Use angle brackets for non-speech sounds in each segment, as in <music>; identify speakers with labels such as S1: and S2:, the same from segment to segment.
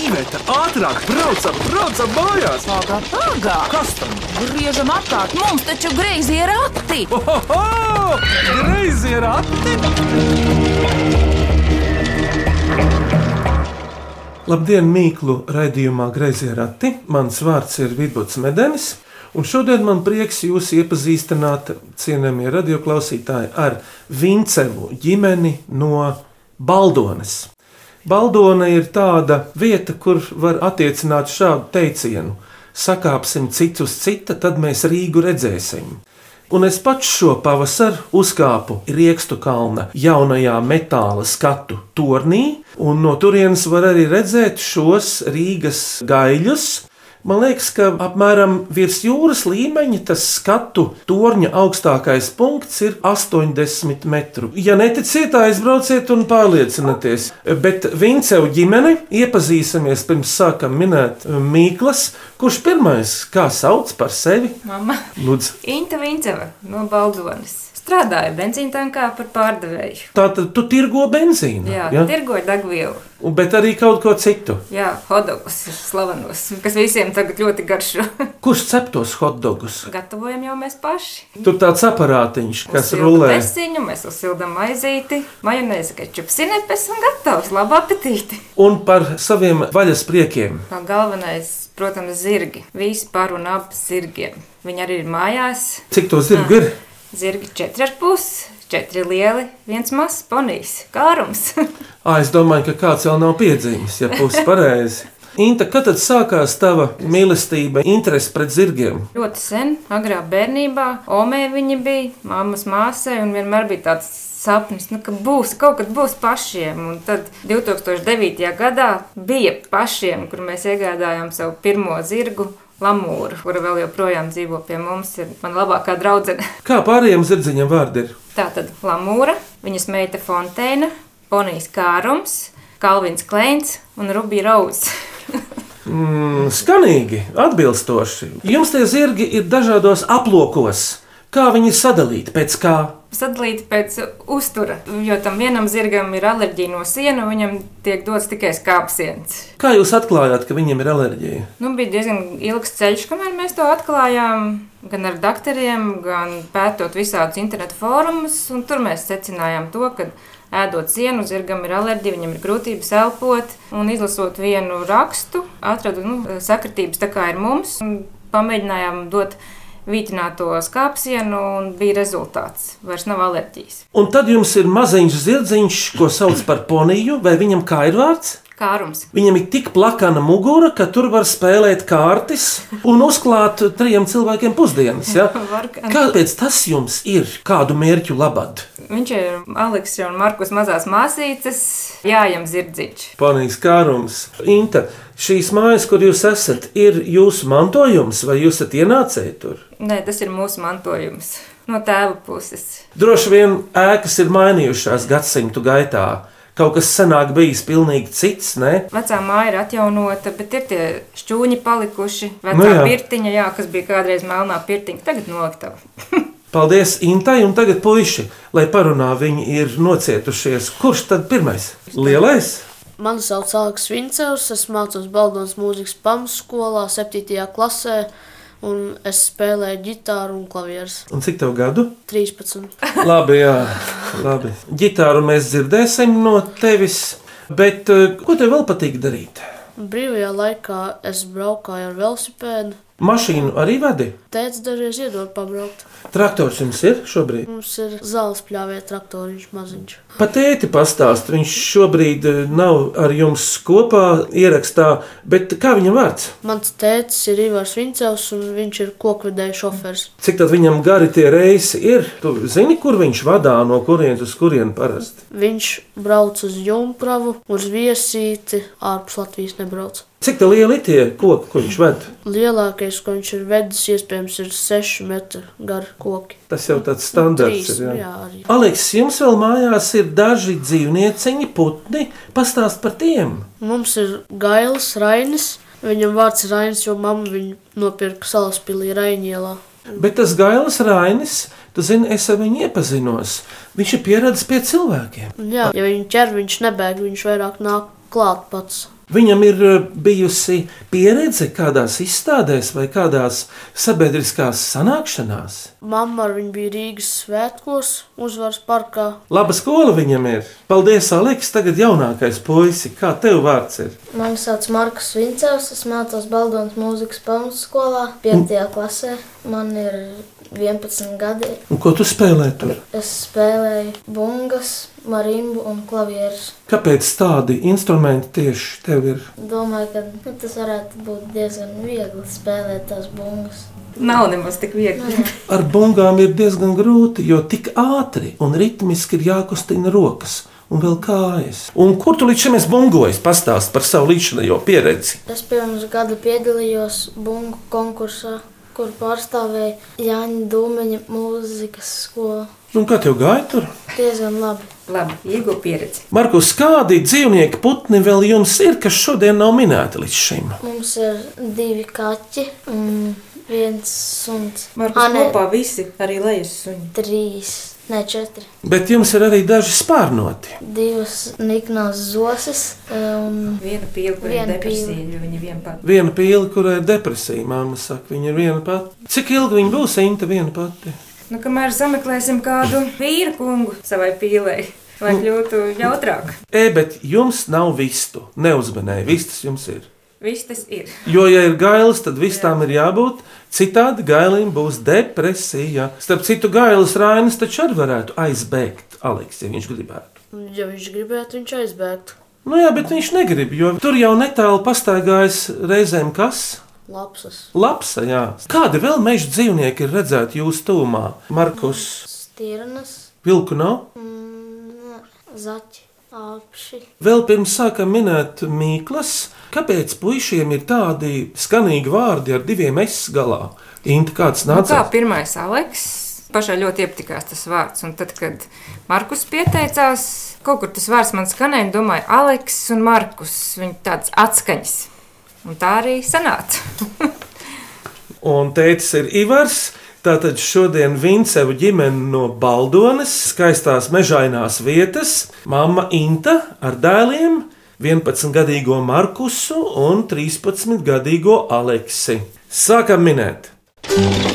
S1: Iveta, ātrāk, braucam, braucam mājās!
S2: Ātrāk, ātrāk!
S1: Kas tam?
S2: Griežam apkārt, mums taču greizi ir akti!
S1: Ohoho! Greizi ir ati!
S3: Labdien, Mīklu raidījumā Greizie rati. Mans vārds ir Vidvuds Medenis, un šodien man prieks jūs iepazīstināt, cienījamie radioklausītāji, ar Vincevu ģimeni no Baldones. Baldona ir tāda vieta, kur var attiecināt šādu teicienu: sakāpsim citu uz cita, tad mēs Rīgu redzēsim. Un es pats šo pavasaru uzkāpu Riekstu kalna jaunajā metāla skatu tornī, un no turienes var arī redzēt šos Rīgas gaļus. Man liekas, ka apmēram virs jūras līmeņa tas skatu torņa augstākais punkts ir 80 metru. Ja neticiet, aizbrauciet un pārliecinieties. Bet Vincevu ģimeni iepazīsimies pirms sākam minēt eh, Mīklas, kurš pirmais kā sauc par sevi?
S4: Mama
S3: Lūdzu!
S4: Inte Vinceva no Baldonas. Strādāja benzīna tankā par pārdevēju.
S3: Tātad tu tirgo benzīnu,
S4: Jā,
S3: ja?
S4: ja? tirgoja degvielu.
S3: Un- bet arī kaut ko citu.
S4: Jā, hodogus ir slavenos, kas visiem tagad ļoti garšo.
S3: Kurš cep tos hotdogus?
S4: Gatavojam jau mēs paši.
S3: Tur tāds aparātiņš, kas
S4: Uzsildu
S3: rulē.
S4: Pesiņu, mēs uzsildām maizīti, majonēzi, kečups, sinepes un gatavs. Labu apetīti!
S3: Un par saviem vaļas priekiem.
S4: Kā galvenais, protams, zirgi. Visi par un ap zirgiem. Viņi arī ir mājās.
S3: Cik to
S4: Ah.
S3: zirgu ir?
S4: Zirgi četri ar pus, četri lieli, viens mazs ponijs. Kārums! <laughs>
S3: Ā, es domāju, ka kāds vēl nav piedzīvis, ja pusi pareizi. Inta, kad tad sākās tava mīlestība, interese pret zirgiem?
S4: Ļoti sen, agrā bērnībā, Omei viņa bija, māmas māsai, un vienmēr bija tāds sapnis, nu, ka būs kaut kad būs pašiem. Un tad 2009. gadā bija pašiem, kur mēs iegādājām savu pirmo zirgu. Lamūra, kura vēl joprojām dzīvo pie mums, ir mana labākā draudzene. <laughs>
S3: Kā pārējiem zirdziņiem vārdi ir?
S4: Tā tad Lamūra, viņas meita Fonteina, Ponijas Kārums, Kalvins Kleins un Rubija Rauds. <laughs>
S3: Mm, skanīgi, atbilstoši. Jums tie zirgi ir dažādos aplokos. Kā viņi sadalīti pēc kā?
S4: sadalīti pēc uztura. Jo tam vienam zirgam ir alerģija no siena, un viņam tiek dots tikai skāpsiens.
S3: Kā jūs atklājāt, ka viņiem ir alerģija?
S4: Nu, bija diezgan ilgs ceļš, kamēr mēs to atklājām. Gan ar doktoriem, gan pētot visādus internetu fórumus. un Tur mēs secinājām to, ka ēdot sienu, zirgam ir alerģija, viņam ir grūtības elpot. Un izlasot vienu rakstu, atradu nu, sakritības tā kā ir mums. un Pamēģinājām dot vītrināto skāpsienu, un bija rezultāts. Vairs nav alerģijas.
S3: Un tad jums ir maziņš zirdziņš, ko sauc par poniju, vai viņam kā ir vārds?
S4: Kārums.
S3: Viņam ir tik plakana mugura, ka tur var spēlēt kārtas un uzklāt trijiem cilvēkiem pusdienas. Ja?
S4: <laughs> Var gan.
S3: Kāpēc tas jums ir? Kādu mērķu labad?
S4: Viņš ir Aleksa un Markus mazās māsītes, Jājam Zirdziņš.
S3: Panīs kārums. Inta, šīs mājas, kur jūs esat, ir jūsu mantojums, vai jūs esat ienācēji tur?
S4: Nē, tas ir mūsu mantojums no tēva puses.
S3: Droši vien ēkas ir mainījušās gadsimtu gaitā. Kaut kas senāk bijis pilnīgi cits, ne?
S4: Vecā māja ir atjaunota, bet ir tie šķūņi palikuši.
S3: Nu
S4: Vecā
S3: jā.
S4: nu pirtiņa, jā, kas bija kādreiz melnā pirtiņa, tagad noliktava.
S3: Paldies Intai, un tagad puiši, lai parunā viņi ir nocietušies. Kurš tad pirmais? Lielais?
S5: Mani sauc Aleks Vincevs, es mācos Baldonas mūzikas pamatskolā, 7. klasē, un es spēlēju ģitāru un klavierus.
S3: Un cik tev gadu?
S5: 13.
S3: Labi, jā, labi. Gitāru mēs dzirdēsim no tevis, bet eh, ko tev vēl patīk darīt?
S5: Brīvajā laikā es braukāju ar velosipēdu.
S3: Mašīnu arī vadi?
S5: Tēvs dažreiz iedod pabraukt.
S3: Traktors jums ir šobrīd?
S5: Mums ir zāles pļāvie traktoriņš maziņš.
S3: Pat tēti pastāst, viņš šobrīd eh, nav ar jums kopā ierakstā, bet kā viņam vārds?
S5: Mans tēvs ir Ivars Vincevs, un viņš ir kokvedēju šofers.
S3: Cik tad viņam gari tie reisi ir? Tu zini, kur viņš vadā, no kurienes uz kurien parasti?
S5: Viņš brauc uz jumpravu, uz viesīti, ārpus Latvijas nebrauc.
S3: Cik tā liela ir tie koki, ko viņš ved?
S5: Lielākais, ko viņš ir vedis, iespējams, ir 6 metru gari koki.
S3: Tas jau tāds standarts
S5: Trīs,
S3: ir.
S5: nu
S3: Jā.
S5: jā, arī.
S3: Aleks, jums vēl mājās ir daži dzīvnieciņi, putni. Pastāst par tiem.
S5: Mums ir gails Rainis. Viņam vārds ir Rainis, jo mamma viņu nopirka salaspīlī Rainielā.
S3: Bet tas gailis Rainis, tu zini, es ar viņu iepazinos. Viņš ir pieradis pie cilvēkiem.
S5: Un Jā, ja viņu ķer, viņš nebēg, viņš vairāk nāk klāt pats.
S3: Viņam ir eh, bijusi pieredze kādās izstādēs vai kādās sabiedriskās sanākšanās.
S5: Mamma ar viņu bija Rīgas svētkos, uzvaras parkā.
S3: Laba skola viņam ir. Paldies, Aleks, tagad jaunākais puisi. Kā tev vārds ir?
S6: Mani sauc Markus Vincevs, es mācos Baldonas mūzikas pamatskolā, 5. klasē. Man ir 11 gadi.
S3: Un ko tu spēlē tur?
S6: Es spēlēju bungas, marimbu un klavierus.
S3: Kāpēc tādi instrumenti tieši tev ir?
S6: Domāju, ka nu, tas varētu būt diezgan viegli spēlēt tās bungas.
S4: Nav nemaz tik viegli.
S3: Ar bungām ir diezgan grūti, jo tik ātri un ritmiski ir jākustina rokas un vēl kājas. Un kur tu līdz šim esi bungojis? Pastāst par savu līdzinējo pieredzi.
S6: Es pirms gada piedalījos bungu konkursā, kur pārstāvēja Jāņa Dūmeņa mūzikas skolu.
S3: Un Nu, kā tev gāja tur?
S6: Diezgan labi.
S4: Labi, iegūta pieredze.
S3: Markus, kādi dzīvnieki putni vēl jums ir, kas šodien nav minēti līdz šim?
S6: Mums ir divi kaķi un viens suns. Ah,
S4: Markus,
S6: nē,
S4: kopā visi arī lejas suņi.
S6: trīs, ne četri.
S3: Bet jums ir arī daži spārnoti.
S6: Divas um, niknās zosis un
S4: Viena pīle, viena
S6: Viena
S4: depresija, jo viņi vienpats.
S3: Viena pīle, kurai ir depresija, māma saka, viņa ir viena pati. Cik ilgi viņa būs īņta viena pati?
S4: Nu, kamēr sameklēsim kādu vīru kungu savai pīlei, lai
S3: Nu.
S4: kļūtu jautrāk.
S3: E, bet jums nav vistu. Neuzmanēji, vistas jums ir.
S4: Viss tas ir.
S3: Jo, ja ir gailis, tad visām ir jābūt. Citādi gailim būs depresija. Starp citu, gailis Rainis taču arī varētu aizbēgt, Aleks, ja viņš gribētu.
S5: Ja viņš gribētu, viņš aizbēgtu.
S3: Nu jā, bet viņš negrib, jo tur jau netālu pastaigājas reizēm kas.
S5: Lapsas.
S3: Lapsa, jā. Kādi vēl meža dzīvnieki ir redzēti jūsu tūmā? Markus,
S6: stirnas,
S3: vilku nav?
S6: mm, zaķi, apši.
S3: Vēl pirms sākam minēt mīklas, kāpēc puišiem ir tādi skanīgi vārdi ar diviem es galā? Inta kāds
S4: Nu, kā
S3: nāca?
S4: pirmais Aleks. Pašai ļoti iepatikās tas vārds. Un tad, kad Markus pieteicās, kaut kur tas vārds man skanēja, un domāju, Aleks un Markus. Viņi tāds atskaņas. Un tā arī sanāca. <laughs>
S3: un tētis ir Ivars. Tātad šodien Vincevu ģimene no Baldonas, skaistās mežainās vietas, mamma Inta ar dēliem, 11-gadīgo Markusu un 13-gadīgo Aleksi. Sākam minēt!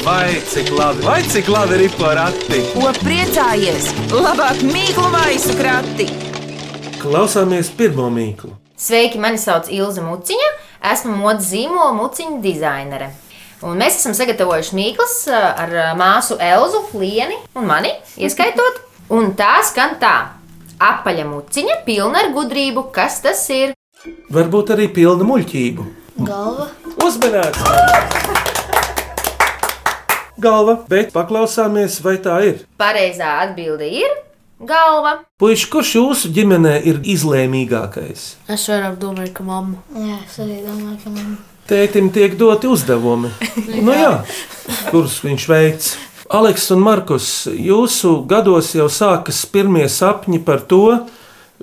S1: Vai cik labi, vai cik labi ir porati?
S2: Ko priecājies? Labāk mīklu maisu krati!
S3: Klausāmies pirmo mīklu.
S7: Sveiki, mani sauc Ilza Muciņa. Esmu modes zīmola muciņa dizainere. Un mēs esam sagatavojuši mīklas ā, ar ā, māsu Elzu, Lienu un mani ieskaitot. Un tā skan tā: apaļa muciņa, pilna ar gudrību. Kas tas ir?
S3: Varbūt arī pilna muļķību.
S6: Galva,
S3: Uzmanīgs! Galva, bet paklausāmies, vai tā ir.
S7: Pareizā atbilde ir galva.
S3: Puiši, kurš jūsu ģimenē ir izlēmīgākais?
S5: Es vairāk domāju, ka mamma.
S6: jā, es arī domāju, ka man
S3: Tētim tiek doti uzdevumi, nu, jā, kurus viņš veic. Aleks un Markus, jūsu gados jau sākas pirmie sapņi par to,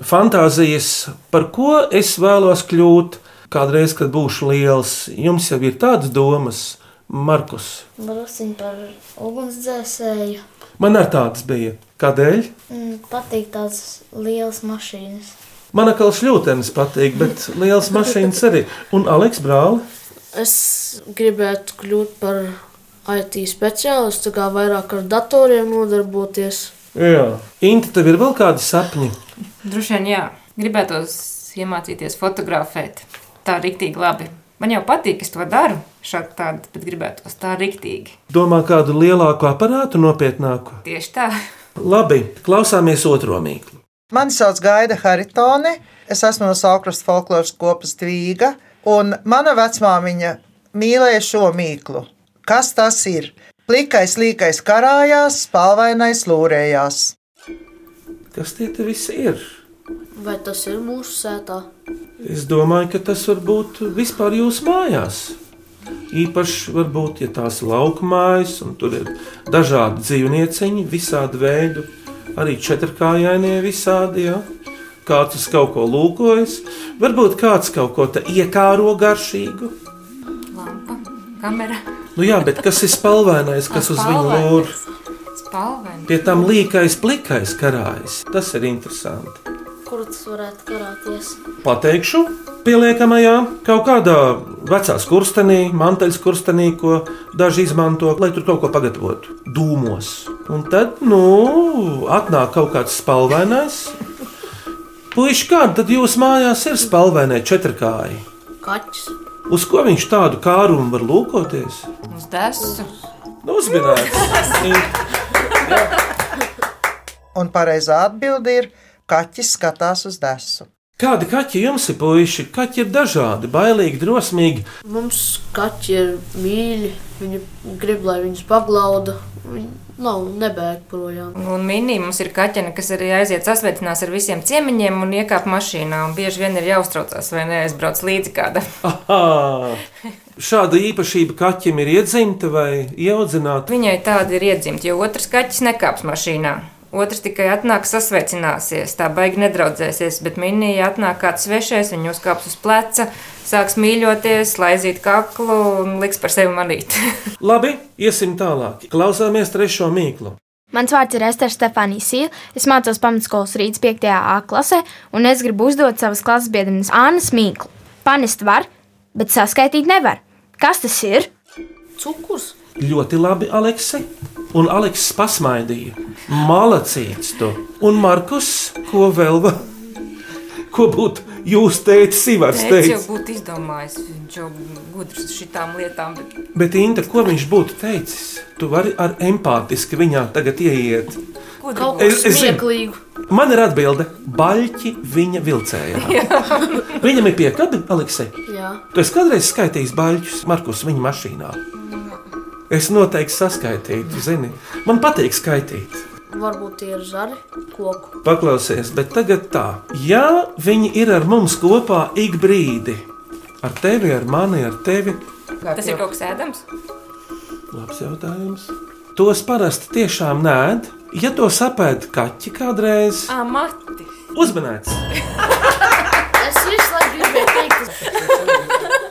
S3: fantāzijas, par ko es vēlos kļūt. Kādreiz, kad būšu liels, jums jau ir tādas domas, Markus.
S6: drusciņi par ugunsdzēsēju.
S3: Man ar tādas bija. Kādēļ?
S6: Mm, Patīk tās lielas mašīnas.
S3: Man kā slūtenis patīk, bet liels mašīnas arī. Un Aleks brāli,
S5: Es gribētu kļūt par IT speciālistu, kā vairāk ar datoriem nodarboties.
S3: Jā. Inti, tev ir vēl kādi sapņi?
S4: Droši vien, jā, gribētos iemācīties fotografēt. Tā ir rīktīgi labi. Man jau patīk, es to daru šādi tādi, bet gribētos tā rīktīgi.
S3: Domā kādu lielāku aparātu, nopietnāku?
S4: Tieši tā. <laughs>
S3: Labi, klausāmies otro mīklu.
S8: Mani sauc Gaida Haritone, es esmu no Saukrasta folkloras kopas Tvīga, un mana vecmāmiņa mīlēja šo mīklu. Kas tas ir? Plikais, līkais karājās, spalvainais lūrējās.
S3: Kas tie te visi ir?
S5: Vai tas ir mūsu sētā?
S3: Es domāju, ka tas var būt vispār jūsu mājās. Īpaši, varbūt, ja tās ir lauka mājas, un tur ir dažādi dzīvnieciņi, visādi veidi, arī četrkājainie visādi. Ja? Kāds uz kaut ko lūkojas, varbūt kāds kaut ko te iekāro garšīgu.
S4: Lampa, kamera,
S3: Nu jā, bet kas ir spalvainais, kas uz viņu lūr?
S4: spalvena.
S3: Pie tam līkais, plikais karājas. Tas ir interesanti.
S6: kur tas varētu karāties.
S3: Pateikšu, pieliekamajā kaut kādā vecā kurstenī, manteļa kurstenī, ko daži izmanto, lai tur kaut ko pagatavotu dūmos. Un tad, nu, atnāk kaut kāds spalvainais. Puisši, kāda tad jūs mājās ir spalvainai četrkāji?
S5: Kaķis.
S3: Uz ko viņš tādu kārumu var lūkoties?
S2: Uz desu. <laughs>
S3: Nu, uzminēts!
S8: Un pareizā atbilde ir, kaķis skatās uz desu.
S3: Kādi kaķi jums ir, puiši? Kaķi ir dažādi, bailīgi, drosmīgi.
S5: Mums kaķi ir mīļi. Viņi grib, lai viņus paglauda. Viņi nav nebēg projām.
S4: Un minī mums ir kaķene, kas arī aiziet sasveicinās ar visiem ciemiņiem un iekāp mašīnā. Un bieži vien ir jāuztraucās, vai neaizbrauc līdzi <laughs> kāda.
S3: Aha! Šāda īpašība kaķim ir iedzimta vai ieaudzināta.
S4: Viņai tāda ir iedzimta, jo otrs kaķis nekāps mašīnā. Otrs tikai atnāk sasveicināsies, tā baigi nedraudzēsies, bet minija atnāk kāds svešais, viņu uzkāps uz pleca, sāks mīļoties, laizīt kaklu un liks par sevi <laughs> manīt.
S3: Labi, iesim tālāk. Klausāmies trešo mīklu.
S9: Mans vārds ir Esther Stefanija Sīla. Es mācos pamatskolas rīts 5. A klasē, un es gribu uzdot savas klases biedrenes Annas Mīklu. Panest var, bet saskaitīt nevar. Kas tas ir?
S5: Cukurs.
S3: Ļoti labi, Aleksi. Un Aleksis pasmaidīja. Malacīts tu. Un Markus, ko vēl? va- Ko būtu jūs teicis, Ivars
S4: Es jau
S3: teicis?
S4: būtu izdomājis, viņš jau gudrs šitām lietām, bet
S3: Bet, Inta, ko viņš būtu teicis? Tu vari ar empātiski viņā tagad ieiet.
S4: ko
S5: Kaut
S4: domā?
S5: kas
S3: Es- es zinu.
S5: smieklīgs.
S3: Man ir atbilde. Baļķi viņa vilcējā. Viņam ir piekabi, Aleksei.
S5: Jā,
S3: Tu esi kādreiz skaitījis baļķus Markus viņa mašīnā? Es noteikti saskaitītu, zini. Man patīk skaitīt.
S5: varbūt tie ir zari, koku.
S3: Paklausies, bet tagad tā. Ja viņi ir ar mums kopā ik brīdi, ar tevi, ar mani, ar tevi,
S4: Tas ir kaut kas ēdams?
S3: labs jautājums. Tos parasti tiešām nēd. Ja to sapēta kaķi kādreiz,
S4: Ā, mati!
S3: uzmanīts!
S5: Es visu laiku gribēju teikt,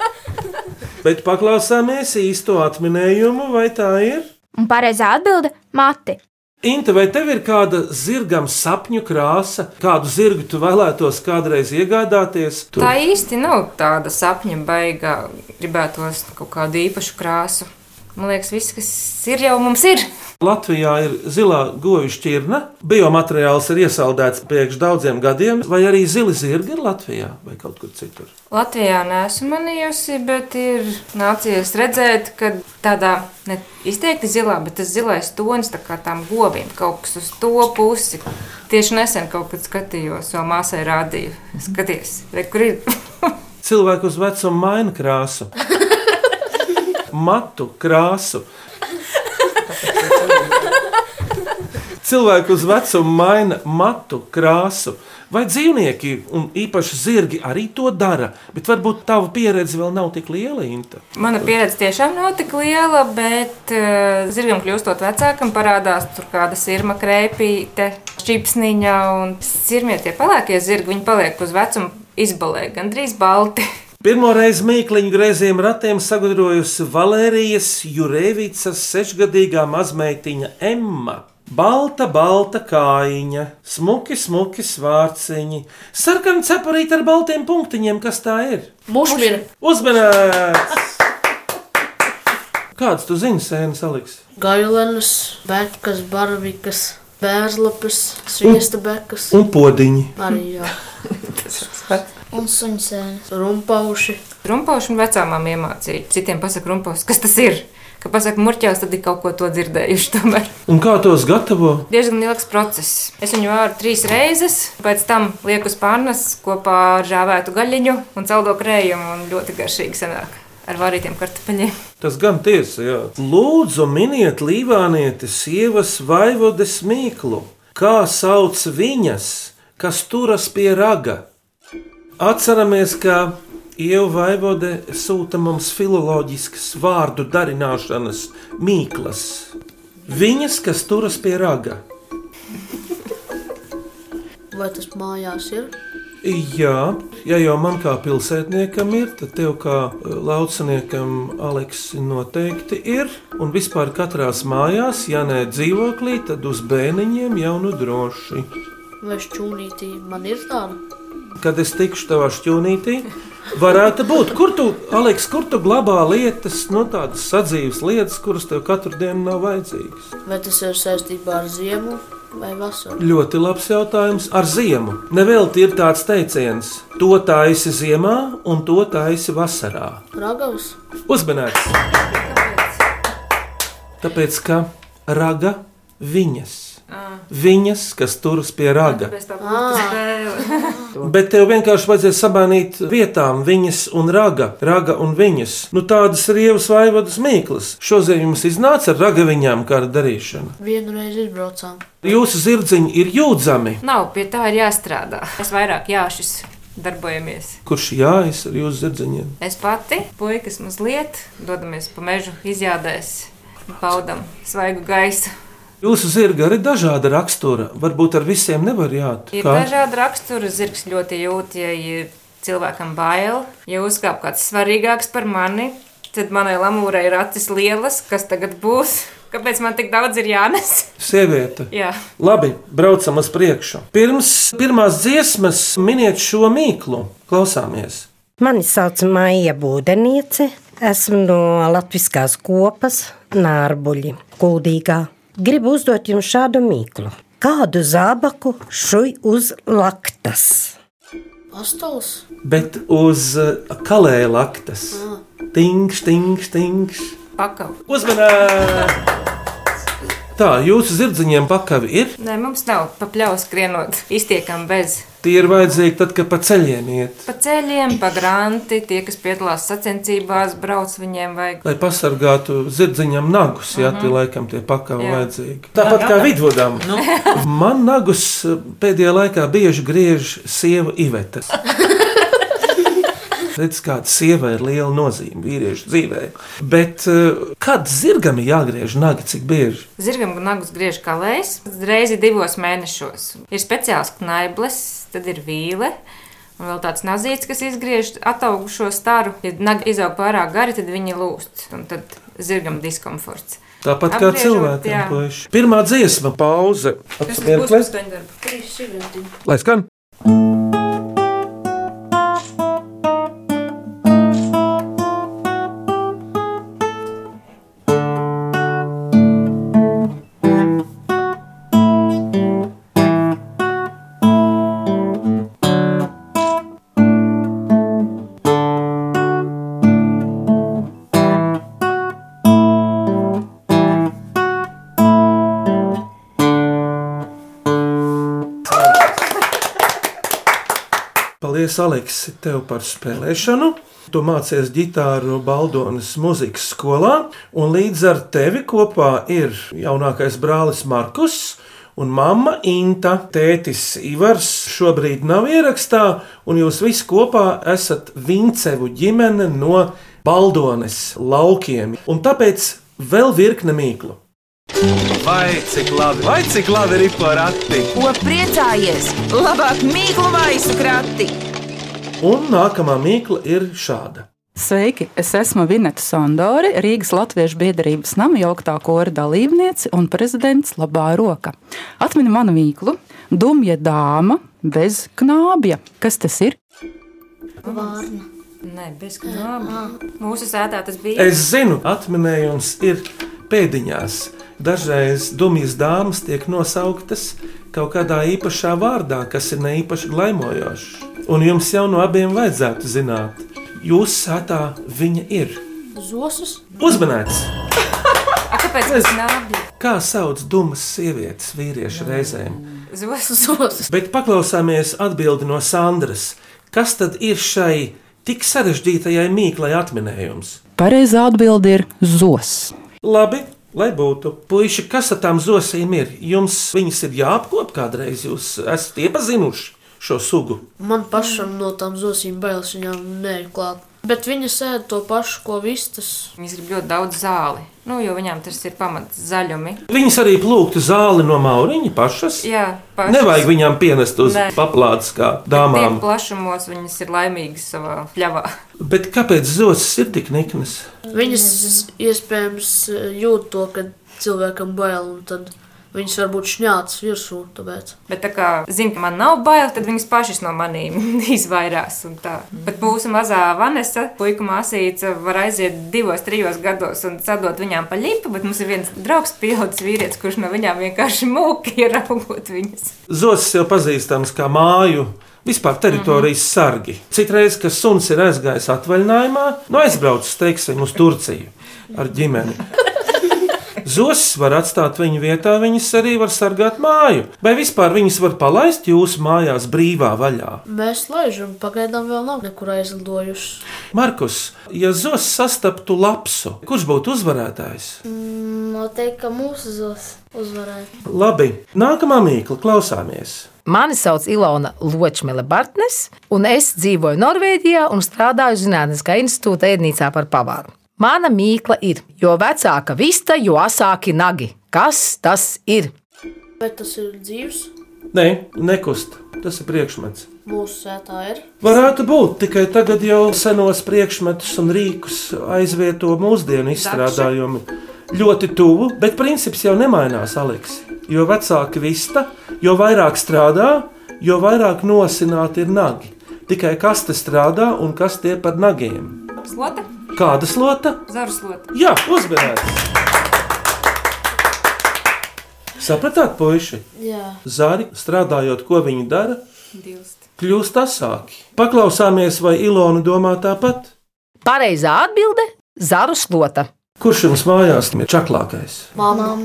S3: Bet paklausāmies īsto atminējumu, vai tā ir?
S9: Un pareizā atbilde - mati.
S3: Inte, vai tev ir kāda zirgam sapņu krāsa, kādu zirgu tu vēlētos kādreiz iegādāties? Tu-
S4: Tā īsti nav tāda sapņa baigā, gribētos kaut kādu īpašu krāsu. Man liekas, viss, kas ir jau mums ir.
S3: Latvijā ir zilā govišķirne, biomateriāls ir iesaldēts priekš daudziem gadiem, vai arī zili zirgi ir Latvijā vai kaut kur citur.
S4: Latvijā neesmu manījusi, bet ir nācies redzēt, ka tādā ne izteikti zilā, bet tas zilais tonis tā kā tām govīm kaut kas uz to pusi. Tieši nesen kaut kad skatījos, jo māsai rādīju, skaties, re, kur ir. <laughs>
S3: Cilvēku uz vecumu maina krāsu, matu krāsu. Cilvēku uz vecumu maina matu krāsu. Vai dzīvnieki, un īpaši zirgi, arī to dara, bet varbūt tava pieredze vēl nav tik liela. Inta.
S4: Mana pieredze tiešām nav tik liela, bet uh, zirgam kļūstot vecākam parādās tur kāda sirma krēpīte, čipsniņa un sirmie tie pelēkie zirgi, viņi paliek uz vecumu izbalē, gandrīz balti. <laughs>
S3: Pirmoreiz mīkliņu grēzījiem ratiem sagudrojusi Valērijas Jurevicas sešgadīgā mazmeitiņa Emma. Balta, balta kājiņa, smuki, smuki svārciņi, sarkana cepurīte ar baltiem punktiņiem, kas tā ir?
S5: mušmira.
S3: Uzmanīts! Kāds tu zini, sēnes Aleks?
S5: Gailenes, bekas, barbikas, bērnlapas, sviesta bekas.
S3: Un podiņi.
S5: Arī jā,
S6: Un suņu sēnes.
S5: rumpauši.
S4: Rumpaušana vecāmām iemācīja. Citiem pasaka, rumpaušana, kas tas ir. Kad pasaka, murķās, tad ir kaut ko to dzirdējuši. Tomēr <laughs>
S3: Un kā tos gatavo?
S4: diezgan ilgs process. Es viņu vāru trīs reizes, pēc tam lieku uz pārnes kopā ar žāvētu gaļiņu un celdo krējumu. Un ļoti garšīgi sanāk ar vārītiem kartupeļiem.
S3: Tas gan tiesa, jā. Lūdzu, miniet Līvānieti sievas vaivodes mīklu. Kā sauc viņas, kas turas pie raga? Atceramies, ka Ieva Vaivode sūta mums filoloģiskas vārdu darināšanas mīklas. Viņas, kas turas pie raga.
S5: Vai tas mājās ir?
S3: Jā, ja jau man kā pilsētniekam ir, tad tev kā eh, lauksniekam, Aleks, noteikti ir. Un vispār katrās mājās, ja nē dzīvoklī, tad uz bēniņiem jau nu droši.
S5: Vai šķūnītī man ir tāda?
S3: Kad es tikšu tavā šķūnītī, varētu būt. Kur tu, Aleks, kur tu glabā lietas, no tādas sadzīves lietas, kuras tev katru dienu nav vajadzīgas?
S5: Vai tas ir saistībā ar ziemu vai vasaru?
S3: Ļoti labs jautājums ar ziemu. Nevelti ir tāds teiciens: to taisi ziemā un to taisi vasarā.
S5: Ragavs?
S3: Uzmanīgs! Tāpēc, ka raga viņas. Viņas, kas turas pie raga.
S4: Bez Ah. tā būtu spēle.
S3: Bet tev vienkārši vajadzēja sabānīt vietām viņas un raga, raga un viņas. Nu, tādas rievas vaivadas mīklas. Šodien jums iznāca ar ragaviņām kāda darīšana.
S5: Vienreiz izbraucām.
S3: Jūsu zirdziņi ir jūdzami.
S4: Nav, pie tā ir jāstrādā. Es vairāk jāšis darbojamies.
S3: Kurš jājas ar jūsu zirdziņiem?
S4: Es pati, puikas mazliet, dodamies pa mežu izjādēs, baudam svaigu gaisu.
S3: Jūsu zirga arī dažāda rakstura. Varbūt ar visiem nevar jāt.
S4: Ir
S3: Kā?
S4: dažādi rakstura zirgs, ļoti jūt, ja ir cilvēkam bail. Ja uzkāp kāds svarīgāks par mani, tad manai lamūrai ir acis lielas, kas tagad būs. Kāpēc man tik daudz ir jānes? <laughs>
S3: Sieviete.
S4: Jā,
S3: Labi, braucam uz priekšu. Pirms pirmās dziesmas miniet šo mīklu. Klausāmies!
S10: Mani sauc Maija Būdeniece. Esmu no Latvijas kopas Nārbuļi, Kuldīgā. Gribu uzdot jums šādu mīklu. Kādu zābaku šuj uz laktas?
S5: Pastals?
S3: Bet uz uh, kalēja laktas. Tingš, tingš, tingš.
S4: pakau.
S3: Uzmanīgi! Tā, jūsu zirdziņiem pakavi ir.
S4: Nē, mums nav papļaus skrienot. Iztiekam bez.
S3: Tie ir vajadzīgi tad, kad pa ceļiem iet,
S4: Pa ceļiem, pa granti, tie, kas piedalās sacensībās, brauc viņiem vajag.
S3: lai pasargātu zirdziņam nagus. Jā, tie laikam tie pakavi
S4: Mhm. Jā. Nu.
S3: vajadzīgi. Tāpat kā vidvudam. <laughs> Man nagus uh, pēdējā laikā bieži griež sieva
S4: <laughs>
S3: Iveta. Redz, kāda sieva ir liela nozīme vīriešu dzīvē. Bet uh, kad zirgam ir jāgriež nagi, cik bieži?
S4: Zirgam nagus griež kalējs, reizi divos mēnešos. Ir speciāls knaibles, tad ir vīle. Un vēl tāds nazīts, kas izgriež ataugušo staru. Ja nagi izaug pārāk gari, tad viņi lūst. Un tad zirgam diskomforts.
S3: Tāpat kā
S4: Apgriežot, jā.
S3: cilvēkiem, puiši. Pirmā dziesma, pauze. Apsmirklēs.
S4: pusceļdarbu?
S3: Lai skan! Paldies, Aleks, tev par spēlēšanu. Tu mācies ģitāru Baldonas muzikas skolā, un līdz ar tevi kopā ir jaunākais brālis Markus. Un mamma Inta, tētis Ivars šobrīd nav ierakstā, un jūs visi kopā esat Vincevu ģimene no Baldonas laukiem. Un tāpēc vēl virkne mīklu.
S1: Vai cik labi, vai cik labi ir pa rati?
S2: Ko priecājies? Labāk mīklu maisu krati!
S3: Un nākamā mīkla ir šāda.
S11: Sveiki! Es esmu Vineta Sondori, Rīgas Latviešu biedrības nama jauktā kora dalībniece un prezidents labā roka. Atmini manu mīklu, dumja dāma bez knābja. Kas tas ir?
S6: Vārna.
S4: Nē, bez knāba. Mūsu sētā tas bija.
S3: Es zinu, atminējums ir pēdiņās. Dažreiz dumjas dāmas tiek nosauktas kaut kādā īpašā vārdā, kas ir ne īpaši glaimojošs. Un jums jau no abiem vajadzētu zināt, jūs sētā viņa ir.
S5: <laughs> Zosis?
S3: Uzmanīts!
S4: A, kāpēc tas nābja?
S3: Kā sauc dumas sievietes vīriešu reizēm?
S4: Zos.
S5: Zosis.
S3: Bet paklausāmies atbildi no Sandras. Kas tad ir šai tik sarežģītajai mīklai atminējums?
S11: Pareizā atbilde ir zos.
S3: Labi, lai būtu. Puisši, kas ar tām zosīm ir? Jums viņas ir jāapkop kādreiz. Jūs esat iepazinuši šo sugu.
S5: Man pašam no tām zosīm bailes viņām neeju klāt. Bet viņa sēž to pašu, ko vistas.
S4: Viņas grib ļoti daudz zāli. Nu, jo viņām tas ir pamats zaļumi.
S3: Viņas arī plūktu zāli no mauriņa pašas.
S4: Jā, pašas.
S3: Nevajag viņām pienest uz
S4: Nē.
S3: paplātes kā
S4: Tiem
S3: dāmām.
S4: plašumos viņas ir laimīgas savā pļavā. <laughs>
S3: Bet kāpēc zosis ir tik niknas?
S5: eh, Viņas iespējams jūt to, ka cilvēkam bail, un tad Viņas varbūt šņācis virsū, tāpēc.
S4: Bet tā kā zina, ka man nav bail, tad viņas pašas no maniem <laughs> izvairās. un tā. Bet mūsu mazā Vanessa, puika māsīca, var aiziet divos, trijos gados un sadot viņām pa lipu, bet mums ir viens draugs, pieaugušs vīrietis, kurš no viņām vienkārši mūki <laughs> ir augot viņas.
S3: Zosis jau pazīstams kā māju. Vispār teritorijas mm -hmm. sargi. Citreiz, kad suns ir aizgājis atvaļinājumā, nu aizbraucis, teiksim, uz Turciju ar ģimeni. Zosis var atstāt viņu vietā, viņas arī var sargāt māju. Vai vispār viņas var palaist jūsu mājās brīvā vaļā?
S5: Mēs laižam, pagaidām vēl nav nekur aizlidojuši.
S3: Markus, ja Zosis sastaptu lapsu, kurš būtu uzvarētājs?
S6: Mm, Noteikti, ka mūsu zos uzvarētu.
S3: Labi, nākamā mīkla klausāmies.
S12: Mani sauc Ilona Ločmila Bartnes, un es dzīvoju Norvēģijā un strādāju Zinātniskā institūta ēdnīcā par pavāru. Mana mīkla ir, jo vecāka vista, jo asāki nagi. Kas tas ir?
S5: Bet tas ir dzīves.
S3: Nē, nekust. Tas ir priekšmets.
S5: Mūsu sētā ir.
S3: Varētu būt, tikai tagad jau senos priekšmetus un rīkus aizvieto mūsdienu izstrādājumi. Ļoti tuvu, bet princips jau nemainās, Aleks. Jo vecāka vista, jo vairāk strādā, jo vairāk nosināti ir nagi. Tikai kas te strādā un kas tie par nagiem?
S4: Slota,
S3: Kāda slota?
S4: zaru slota. <laughs>
S3: Jā, uzmanīgi! Sapratāt, puiši?
S5: Jā.
S3: Zari, strādājot, ko viņi dara,
S4: Dilst.
S3: kļūst asāki. Paklausāmies, vai Ilona domā tāpat?
S12: Pareizā atbilde - zaru slota.
S3: Kurš jums mājās ir čaklākais?
S5: Māma.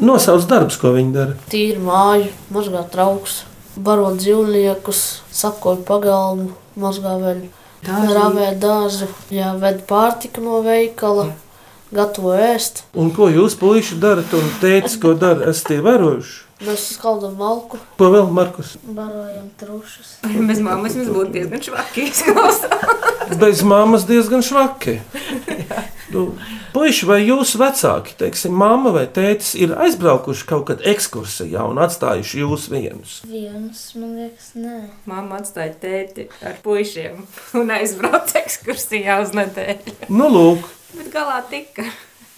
S3: Nosauc darbus, ko viņi dara.
S5: Tīra māju, mazgā trauks, baro dzīvniekus, sakoju pagalmu, mazgā vēl.
S13: Dārziņu.
S5: Rāvē dārzu, jā, ved pārtika no veikala, gatavo ēst.
S3: Un ko jūs, puiši, darat un teicat, ko dara? Es tie vērojuši.
S5: Mēs skaldam malku.
S3: Ko vēl, Markus?
S6: Barojam trušus.
S4: Bez mammas mums būtu diezgan švaki izklausās. <laughs>
S3: Bez mammas diezgan švaki. Nu, Puiši, vai jūsu vecāki, teiksim, mamma vai tētis, ir aizbraukuši kaut kad ekskursijā un atstājuši jūs vienus?
S6: Viens, man liekas, nē.
S4: Māma atstāja tēti ar puišiem un aizbrauca ekskursijā uz nedēļu. <laughs>
S3: Nu, lūk,
S4: Bet galā tika.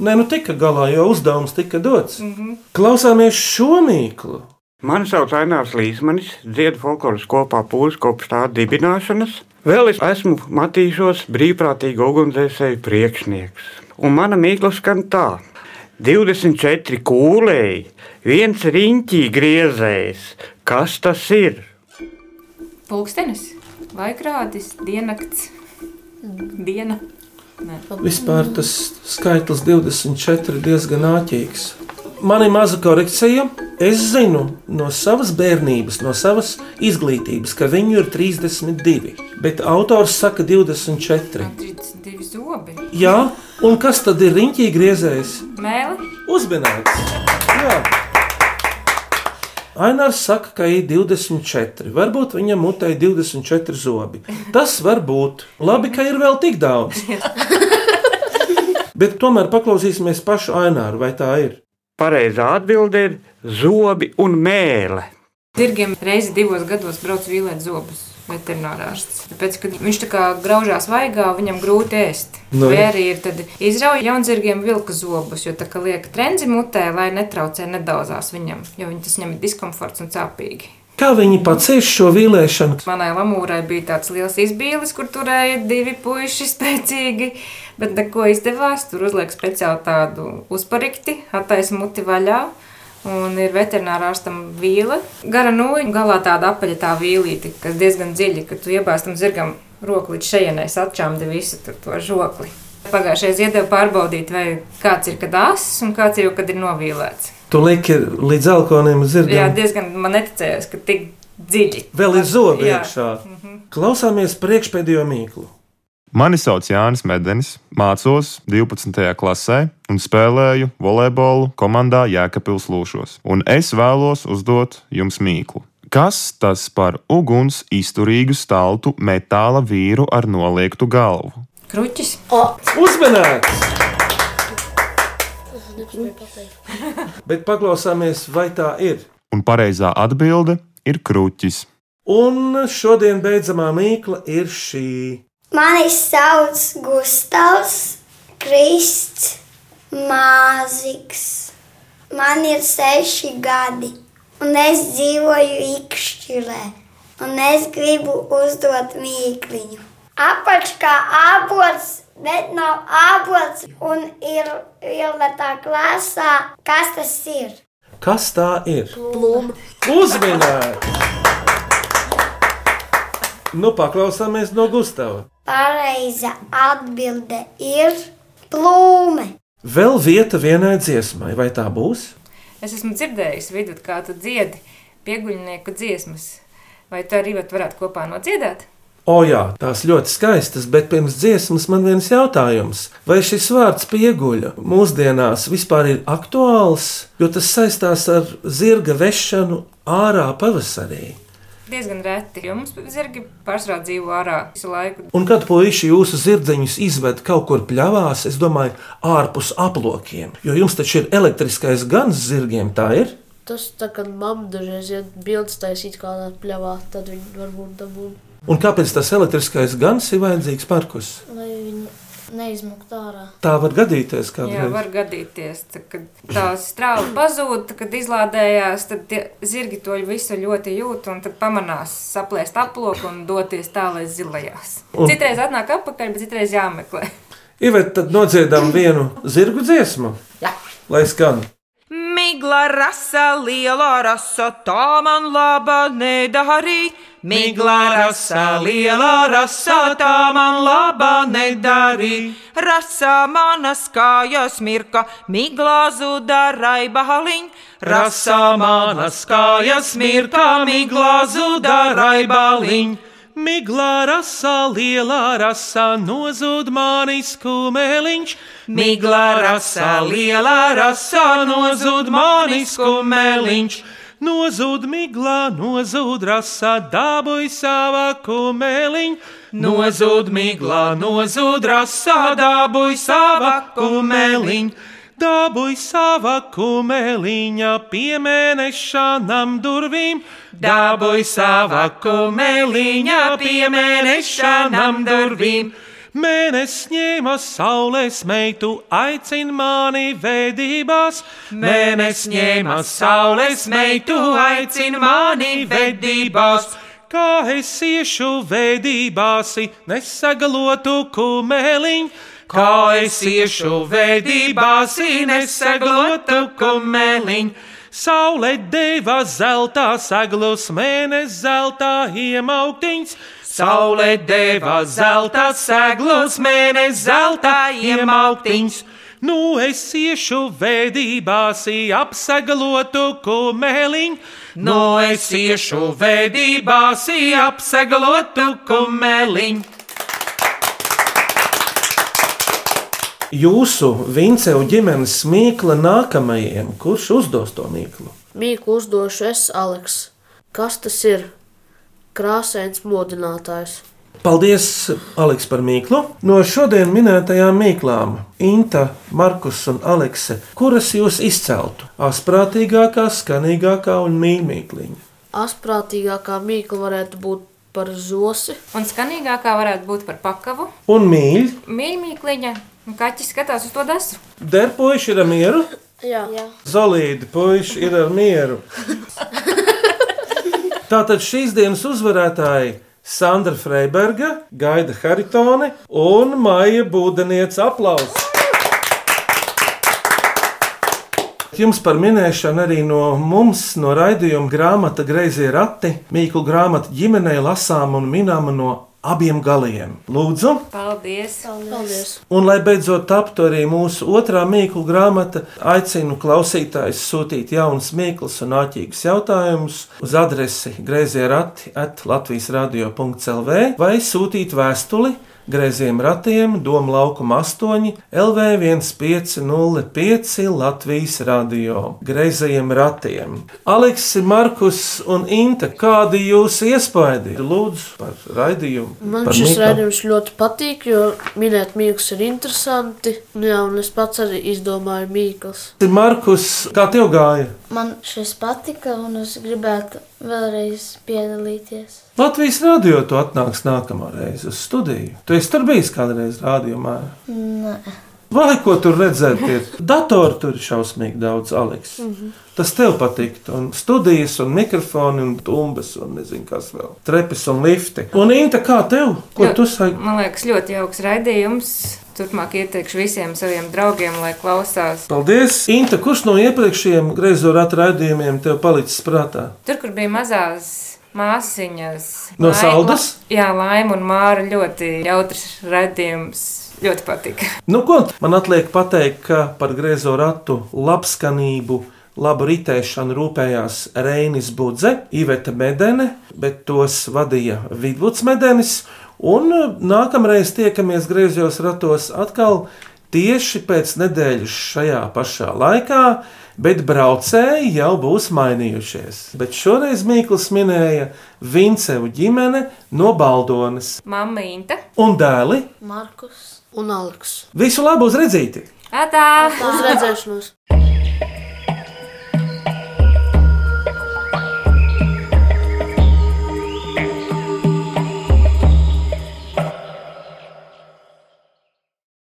S3: nē, nu tika galā, jo uzdevums tika dots.
S4: Mhm.
S3: Klausāmies šo mīklu.
S14: Mani sauc Ainārs Līsmanis, dziedu folkloras kopā pūles kopš tā dibināšanas. Vēl es esmu Matīšos brīvprātīgo ugunsdzēsēju priekšnieks. Un mana mīkla skan tā. 24 kūlēji, viens riņķī griezējs. Kas tas ir?
S4: Pulkstenis, laikrādis, diennakts,
S7: Mm.
S4: diena. Nē.
S3: Vispār tas skaitlis 24 ir diezgan āķīgs. Man ir maza korekcija. Es zinu no savas bērnības, no savas izglītības, ka viņu ir 32, bet autors saka 24.
S7: Mm.
S4: 32 zobi.
S3: Jā, un kas tad ir riņķī griezējs?
S4: Mēli,
S3: Uzmanīgs! Jā. Ainārs saka, ka ir 24. Varbūt viņam mutē ir 24 zobi. Tas var būt. Labi, ka ir vēl tik daudz. <laughs> Bet tomēr paklausīsimies pašu Aināru, vai tā ir?
S14: Pareizā atbilde ir zobi un mēlē.
S4: Dirgiem reizi divos gados brauc vīlēt zobus. Veterinārārsts. Tāpēc, kad viņš tā kā graužās vaigā, viņam grūti ēst.
S7: Nu,
S4: No,
S7: jā.
S4: Vai arī ir tad izrauj jaunzirgiem vilka zobus, jo tā kā liek trenzi mutē, lai netraucē nedaudzās viņam, jo viņi tas ņem diskomforts un cāpīgi.
S3: Kā viņi pacieš šo vīlēšanu?
S4: Manai lamūrai bija tāds liels izbīlis, kur turēja divi puiši spēcīgi, bet neko izdevās. Tur uzliek speciāli tādu uzparikti, attaisno muti vaļā. Un ir veterinārā ārstam vīle. Gara nūja, galā tāda apaļa tā vīlīte, kas diezgan dziļi, kad tu iebāz tam zirgam roku līdz šejienai, atčāmdi visu tur to žokli. Pagājušajā gadā iedeva pārbaudīt, vai kāds ir kad ass un kāds ir jau kad ir novīlēts.
S3: Tu lieki līdz alkoholiem
S4: Jā,
S3: dzirdēt.
S4: diezgan man neticējās, ka tik dziļi.
S3: Vēl ir zobi
S4: Jā. Mhm.
S3: iekšā. Klausāmies priekšpēdējo mīklu.
S15: Mani sauc Jānis Medenis, mācos 12. klasē un spēlēju volejbolu komandā Jēkabils Lūšos. Un es vēlos uzdot jums mīklu. Kas tas par uguns izturīgu staltu metāla vīru ar noliektu galvu?
S4: Kruķis.
S3: Uzmanīgs!
S6: Es nespēju pateikt.
S3: Bet paklausāmies, vai tā ir.
S15: Un pareizā atbilde ir kruķis.
S3: Un šodien beidzamā mīkla ir šī.
S16: Mani sauc Gustavs Krists Māziks.
S13: Man ir seši gadi, un es dzīvoju īkšķirē, un es gribu uzdot mīkliņu. Apakšā apelsīds, bet nav apelsīds, un ir ielikta klasā, kas tas ir.
S3: Kas tā ir?
S13: Plūma.
S3: Uzminēt! Nu, paklausāmies no Gustavas.
S13: Pareiza atbilde ir plūme.
S3: Vēl vieta vienai dziesmai, vai tā būs?
S4: Es esmu dzirdējis, vidū, kā tu dziedi pieguļnieku dziesmas. Vai tu arī vat varētu kopā nodziedāt?
S3: O, jā, tās ļoti skaistas, bet pirms dziesmas man viens jautājums. Vai šis vārds pieguļa mūsdienās vispār ir aktuāls, jo tas saistās ar zirga vešanu ārā pavasarī?
S4: Diezgan reti, jo mums zirgi pārsvarā dzīvo ārā visu laiku.
S3: Un kad puiši jūsu zirdziņus izved kaut kur pļāvās, es domāju, ārpus aplokiem. Jo jums taču ir elektriskais gans zirgiem, tā ir.
S5: Tas tā kā mamma dažreiz iet bildes taisīt kādā pļavā, tad viņi varbūt dabū,
S3: Un kāpēc tas elektriskais gans ir vajadzīgs parkus?
S5: lai viņi neizmukt ārā.
S3: Tā var gadīties
S4: Jā,
S3: kādreiz.
S4: var gadīties, tā, kad tā strāva pazūd, tad, kad izlādējās, tad tie zirgi to visu ļoti jūt un tad pamanās saplēst aploku un doties tālāk zilajās.
S3: Un-
S4: Citreiz atnāk atpakaļ, bet citreiz jāmeklē.
S3: Ivet, tad nodziedam
S4: <clears throat>
S3: vienu zirgu dziesmu.
S4: Jā.
S3: Lai skan.
S2: Migla rasa, liela rasa, tā man laba nedarī. Migla rasa, liela rasa, tā man laba nedarī. Rasa manas kājas mirka, migla zuda raibahaliņ.
S1: Rasā manas kājas mirkā, miglā zuda raibāliņ. Miglā rasā, lielā rasā nozūd manis kumeliņš. Miglā rasā, lielā rasā nozūd manis kumeliņš. Nozūd miglā, nozūd rasā, dabūj savā kumeliņ. Nozūd miglā, nozūd rasā, dabūj savā kumeliņ. Dabūj savā kumeliņa piemenešanām durvīm, dabūj savā kumeliņa piemenešanām durvīm. Mēnesis ņēma saules meitu, aicin mani vedībās. Mēnesis ņēma saules meitu, aicin mani vedībās. Kā es iešu vedībās, i nesagalotu kumeliņu. Kā es iešu vedībās, i nesagalotu kumeliņu. Saulē deva zeltā saglus, mēnesis zeltā iemauktiņš. Saulē deva zeltā saglus, mēnesis zeltā iemauktiņš. Nu es iešu vedībās, i apsaglotu kumeliņu. Nu es iešu vedībās, i apsaglotu kumeliņu.
S3: Jūsu Vincevu ģimenes mīkla nākamajiem, kurš uzdos to mīklu?
S5: Mīku uzdošu es, Aleks. Kas tas ir? Krāsains modinātājs.
S3: Paldies, Aleks, par mīklu. No šodien minētajām mīklām, Inta, Markus un Alekse, kuras jūs izceltu? Asprātīgākā, skanīgākā un mīļākā.
S5: Asprātīgākā mīkla varētu būt par zosi.
S4: Un skanīgākā varētu būt par pakavu.
S3: Un mīļ,
S4: Mīļmīkliņa, un kaķis skatās uz to dasu.
S3: derpuši ir ar mieru,
S5: Jā. Jā.
S3: zolīti puiši ir ar mieru. Tātad šīs dienas uzvarētāji Sandra Freiberga, Gaida Haritone un Maija Būdenieca aplausus. Jums par minēšanu arī no mums, no raidījuma grāmata Greizie rati, mīklu grāmata ģimenei lasām un minām no abiem galiem. Lūdzu!
S4: Paldies!
S5: Paldies!
S3: Un, lai beidzot taptu arī mūsu otrā mīklu grāmata, aicinu klausītājus sūtīt jaunus mīklus un āķīgus jautājumus uz adresi grazījā rati at Latvijas radio.clv vai sūtīt vēstuli grazījiem ratiem Doma laukuma 8 LV 1505 Latvijas radio grazījiem ratiem. Aleks, Markus un Inte, kādi jūs iespaidi? Lūdzu par raidījumu.
S5: Man
S3: par
S5: šis
S3: mīklām.
S5: rādījums ļoti patīk, jo minēt mīklas ir interesanti. Nu Jā, un es pats arī izdomāju mīklas.
S3: Markus, kā tev gāja?
S6: Man šis patika, un es gribētu vēlreiz piedalīties.
S3: Latvijas radio tu atnāks nākamā reize uz studiju. Tu esi tur bijis kādreiz rādījumā.
S6: Nē,
S3: Vai ko tur redzēt? Ir? Datoru tur ir šausmīgi daudz, Aleks.
S16: Mhm.
S3: Tas tev patikt. Un studijas, un mikrofoni, un tumbas, un nezinu, kas vēl. Trepes un lifti. Un Inta, kā tev? Ko
S4: Jo-
S3: tu saki?
S4: Man liekas, ļoti jauks raidījums. Turpmāk ieteikšu visiem saviem draugiem, lai klausās.
S3: Paldies! Inta, kurš no iepriekšējiem greizorāta raidījumiem tev palicis prātā?
S4: Tur, kur bija mazās māsiņas,
S3: No
S4: Lai-
S3: Saldas?
S4: La- Jā, laima un māra ļoti jautrs raidījums. Ļoti patika.
S3: Nu, ko man atliek pateikt, ka par griezo ratu labskanību, labu ritēšanu rūpējās Reinis Budze, Iveta Medene, bet tos vadīja Vidvuds Medenis. Un eh, nākamreiz tiekamies griezos ratos atkal tieši pēc nedēļas šajā pašā laikā, bet braucēji jau būs mainījušies. Bet šoreiz Mīkls minēja Vincevu ģimene no Baldonas
S4: Mamma Inta.
S3: un dēli.
S5: Markus un Aleks.
S3: Visu labu uz redzīti!
S4: Atā!
S5: Uz redzēšanos!